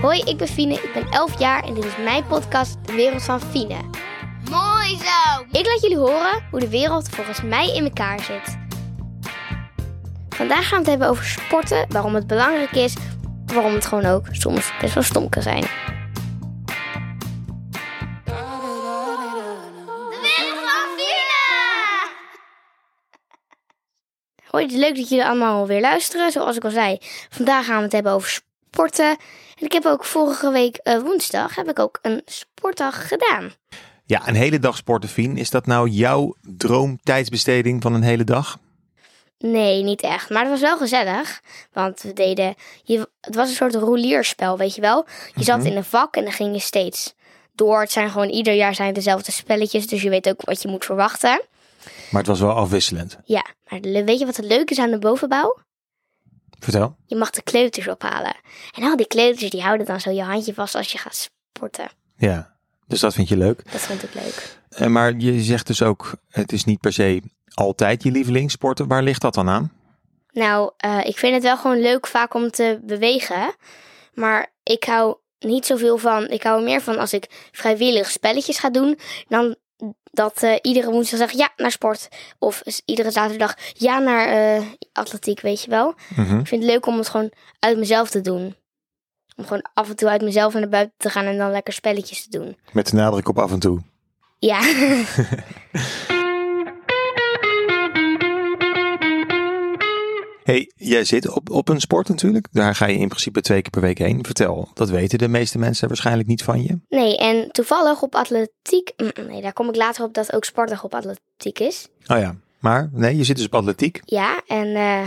Hoi, ik ben Fine, ik ben 11 jaar en dit is mijn podcast De Wereld van Fine. Mooi zo! Ik laat jullie horen hoe de wereld volgens mij in elkaar zit. Vandaag gaan we het hebben over sporten, waarom het belangrijk is, waarom het gewoon ook soms best wel stom kan zijn. De wereld van Fina! Hoi, het is leuk dat jullie allemaal alweer luisteren. Zoals ik al zei, vandaag gaan we het hebben over sporten. En ik heb ook vorige week eh, woensdag heb ik ook een sportdag gedaan. Ja, een hele dag sporten, Fien. Is dat nou jouw droomtijdsbesteding van een hele dag? Nee, niet echt. Maar het was wel gezellig. Want we deden. Je, het was een soort roulierspel, weet je wel. Je zat in een vak en dan ging je steeds door. Het zijn gewoon ieder jaar zijn het dezelfde spelletjes. Dus je weet ook wat je moet verwachten. Maar het was wel afwisselend. Ja, maar le- weet je wat het leuk is aan de bovenbouw? Vertel. Je mag de kleuters ophalen. En al die kleuters die houden dan zo je handje vast als je gaat sporten. Ja, dus dat vind je leuk. Dat vond ik leuk. Eh, maar je zegt dus ook, het is niet per se altijd je lievelingssporten. Waar ligt dat dan aan? Nou, eh, ik vind het wel gewoon leuk vaak om te bewegen. Maar ik hou niet zoveel van. Ik hou er meer van als ik vrijwillig spelletjes ga doen. Dan dat eh, iedere woensdag zeg ja naar sport. Of s- iedere zaterdag ja naar eh, atletiek, weet je wel. Mhm. Ik vind het leuk om het gewoon uit mezelf te doen. Om gewoon af en toe uit mezelf en naar buiten te gaan en dan lekker spelletjes te doen. Met de nadruk op af en toe. Ja. hey, jij zit op, op een sport natuurlijk. Daar ga je in principe twee keer per week heen. Vertel, dat weten de meeste mensen waarschijnlijk niet van je. Nee, en toevallig op atletiek. Mm, Nee, daar kom ik later op dat ook sportdag op atletiek is. Oh ja, maar nee, je zit dus op atletiek. Ja, en eh,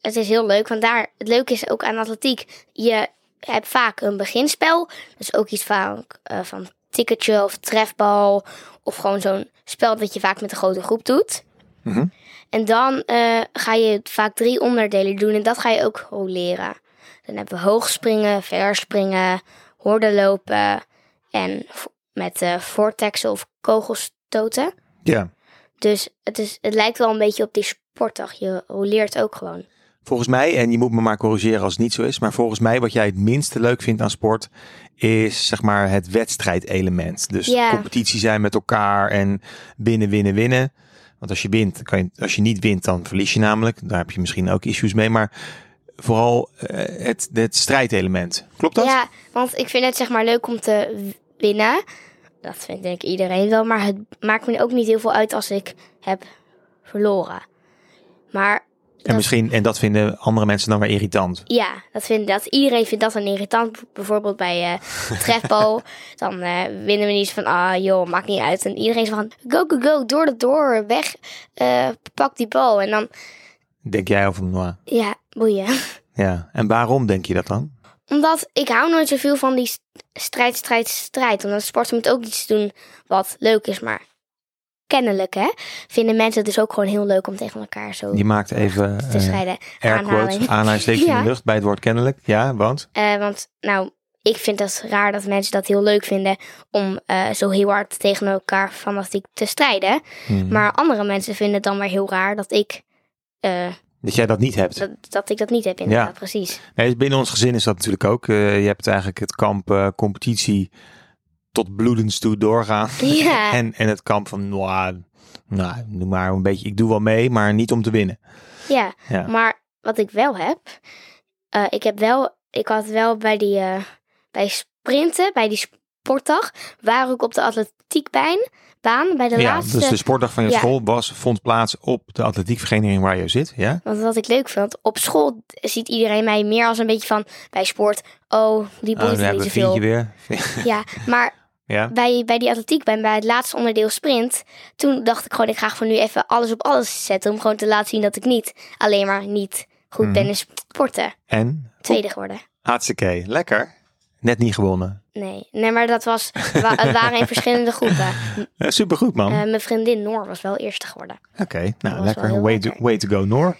het is heel leuk. Want daar, het leuke is ook aan atletiek. Je hebt vaak een beginspel. Dus ook iets van, eh, van ticketje of trefbal. Of gewoon zo'n spel dat je vaak met een grote groep doet. Mhm. En dan eh, ga je vaak drie onderdelen doen. En dat ga je ook leren. Dan hebben we hoogspringen, verspringen, horden lopen. En vo- met eh vortexen of kogelstoten. Ja, Dus het, is, het lijkt wel een beetje op die sportdag. Je leert ook gewoon. Volgens mij, en je moet me maar corrigeren als het niet zo is, maar volgens mij wat jij het minste leuk vindt aan sport is zeg maar het wedstrijdelement. Dus Ja. competitie zijn met elkaar en winnen, winnen, winnen. Want als je wint, kan je, als je niet wint, dan verlies je namelijk. Daar heb je misschien ook issues mee, maar vooral eh, het, het strijdelement. Klopt dat? Ja, want ik vind het zeg maar leuk om te w- winnen. Dat vindt denk ik iedereen wel. Maar het maakt me ook niet heel veel uit als ik heb verloren. Maar en misschien, en dat vinden andere mensen dan weer irritant. ja, dat vind, dat, iedereen vindt dat dan irritant. Bijvoorbeeld bij eh trefbal. dan eh, winnen we niet van, ah joh, maakt niet uit. En iedereen is van, go, go, go, door de door, weg, eh, pak die bal. En dan, Denk jij over moi? ja, boeien. Ja. En waarom denk je dat dan? Omdat ik hou nooit zoveel van die st- strijd, strijd, strijd. Omdat sporten moet ook iets doen wat leuk is. Maar kennelijk, hè, vinden mensen het dus ook gewoon heel leuk om tegen elkaar zo Je maakt even te eh strijden. air Aanhaling. quotes, ah. aanhalingstekens in Ja. de lucht bij het woord kennelijk. Ja, want? Eh, want, nou, ik vind het raar dat mensen dat heel leuk vinden om eh, zo heel hard tegen elkaar fanatiek te strijden. Hmm. Maar andere mensen vinden het dan weer heel raar dat ik, eh, Dat jij dat niet hebt. dat, dat, ik dat niet heb, inderdaad, Ja. precies. Nee, dus binnen ons gezin is dat natuurlijk ook. Eh, je hebt eigenlijk het kamp eh, competitie tot bloedens toe doorgaan. Ja. en, en het kamp van, nou, nou, doe maar een beetje. Ik doe wel mee, maar niet om te winnen. Ja, Ja. maar wat ik wel heb, eh, ik heb wel, ik had wel bij die, eh, bij sprinten, bij die sportdag, waar ik op de atletiekbaan, baan, bij de ja, laatste. dus de sportdag van je Ja. school was, vond plaats op de atletiekvereniging waar je zit. Ja? Want wat ik leuk vind, op school ziet iedereen mij meer als een beetje van bij sport. Oh, die Oh, boeit me hebben niet we Fientje zoveel. weer. Ja, maar ja. bij, bij die atletiekbaan, bij het laatste onderdeel sprint, toen dacht ik gewoon, ik ga gewoon nu even alles op alles zetten. Om gewoon te laten zien dat ik niet alleen maar niet goed Mhm. ben in sporten. En? Tweede geworden. Hartstikke, lekker. Net niet gewonnen. Nee, nee, maar dat was, wa- het waren in verschillende groepen. Eh, supergoed man. Eh, mijn vriendin Noor was wel eerste geworden. Oké, nou was wel lekker. heel Way, To, lekker. way to go, Noor.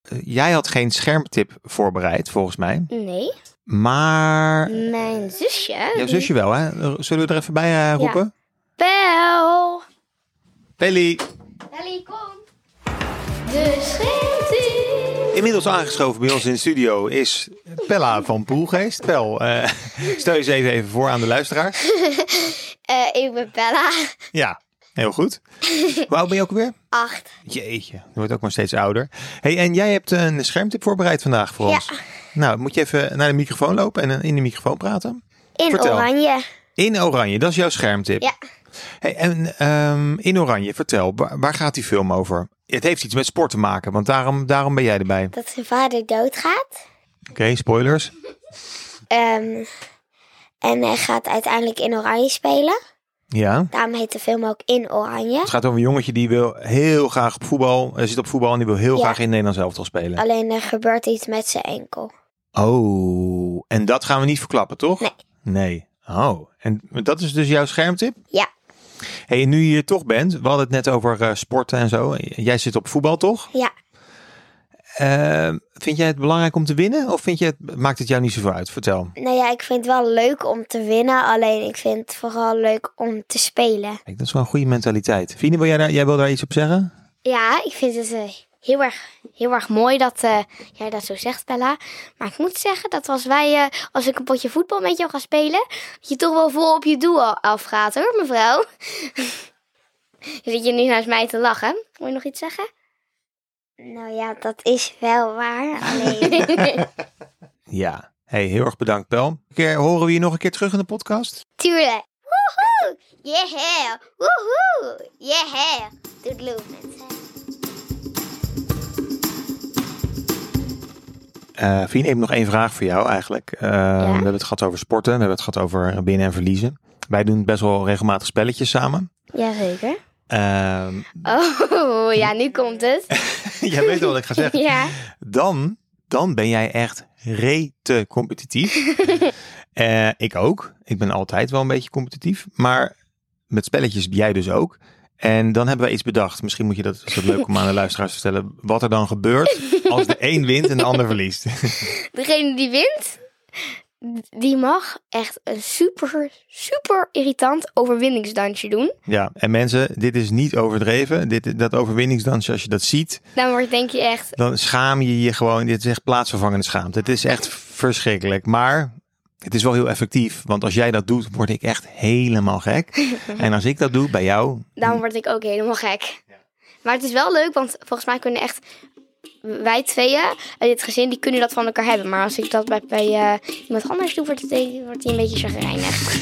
Eh, Jij had geen schermtip voorbereid, volgens mij. Nee, Maar mijn zusje. jouw zusje wel, hè? eh, Zullen we er even bij eh, roepen? Bel. Telly! Ellie, De scheldtune. Inmiddels aangeschoven bij ons in de studio is Pella van Poelgeest. Pel, eh, stel je ze even, even voor aan de luisteraars. Eh, ik ben Bella, Ja, heel goed. Hoe oud ben je ook weer? 8. Jeetje, je wordt ook maar steeds ouder. Hey, en jij hebt een schermtip voorbereid vandaag voor ons. Nou, moet je even naar de microfoon lopen en in de microfoon praten? In Vertel. oranje. In Oranje, dat is jouw schermtip. Ja. Hey, en ehm, in Oranje, vertel, waar, waar gaat die film over? Het heeft iets met sport te maken, want daarom, daarom ben jij erbij. Oké, Dat zijn vader doodgaat. spoilers. Ehm, en hij gaat uiteindelijk in oranje spelen. Ja. Daarom heet de film ook In Oranje. Het gaat over een jongetje die wil heel graag op voetbal. Hij zit op voetbal en die wil heel Ja. graag in Nederland elftal spelen. Alleen er gebeurt iets met zijn enkel. Oh, en dat gaan we niet verklappen, toch? Nee. Nee. Oh, en dat is dus jouw schermtip? Ja. hey, en nu je hier toch bent, we hadden het net over eh, sporten en zo. Jij zit op voetbal, toch? Ja. Eh, vind jij het belangrijk om te winnen? Of vind je het, maakt het jou niet zoveel uit? Vertel. Nou ja, ik vind het wel leuk om te winnen. Alleen ik vind het vooral leuk om te spelen. Kijk, dat is wel een goede mentaliteit. Fine, wil jij daar, jij wil daar iets op zeggen? Ja, ik vind het eh, heel, erg, heel erg mooi dat eh, jij dat zo zegt, Bella. Maar ik moet zeggen dat als wij, eh, als ik een potje voetbal met jou ga spelen, dat je toch wel vol op je doel al- afgaat hoor, mevrouw. Zit je nu naast mij te lachen? Moet je nog iets zeggen? Nou ja, dat is wel waar. Ja. hey, heel erg bedankt, Pel. Een keer, horen we je nog een keer terug in de podcast? Tuurlijk. Woehoe. Yeah. Woehoe. Yeah. Doedeloe mensen. Eh Fien, ik heb nog één vraag voor jou eigenlijk. Eh, We hebben het gehad over sporten, we hebben het gehad over winnen en verliezen. Wij doen best wel regelmatig spelletjes samen. Jazeker. Ehm, Oh, ja, nu komt het. jij weet wel wat ik ga zeggen. Ja. Dan, dan ben jij echt rete competitief. Eh, ik ook. Ik ben altijd wel een beetje competitief. Maar met spelletjes jij dus ook. En dan hebben wij iets bedacht. Misschien moet je dat, is dat leuk om aan de luisteraars te vertellen. Wat er dan gebeurt als de een wint en de ander verliest. Degene die wint, die mag echt een super, super irritant overwinningsdansje doen. Ja, en mensen, dit is niet overdreven. Dit, dat overwinningsdansje, als je dat ziet, Dan wordt denk je echt, dan schaam je je gewoon. Dit is echt plaatsvervangende schaamte. Het is echt verschrikkelijk. Maar het is wel heel effectief. Want als jij dat doet, word ik echt helemaal gek. En als ik dat doe bij jou, dan word ik ook helemaal gek. Maar het is wel leuk, want volgens mij kunnen echt wij tweeën uit dit gezin, die kunnen dat van elkaar hebben. Maar als ik dat bij, bij eh, iemand anders doe, wordt hij wordt die een beetje chagrijnig.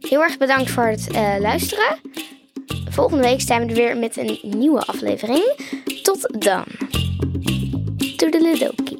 Heel erg bedankt voor het eh, luisteren. Volgende week zijn we er weer met een nieuwe aflevering. Tot dan. Toedeledokie.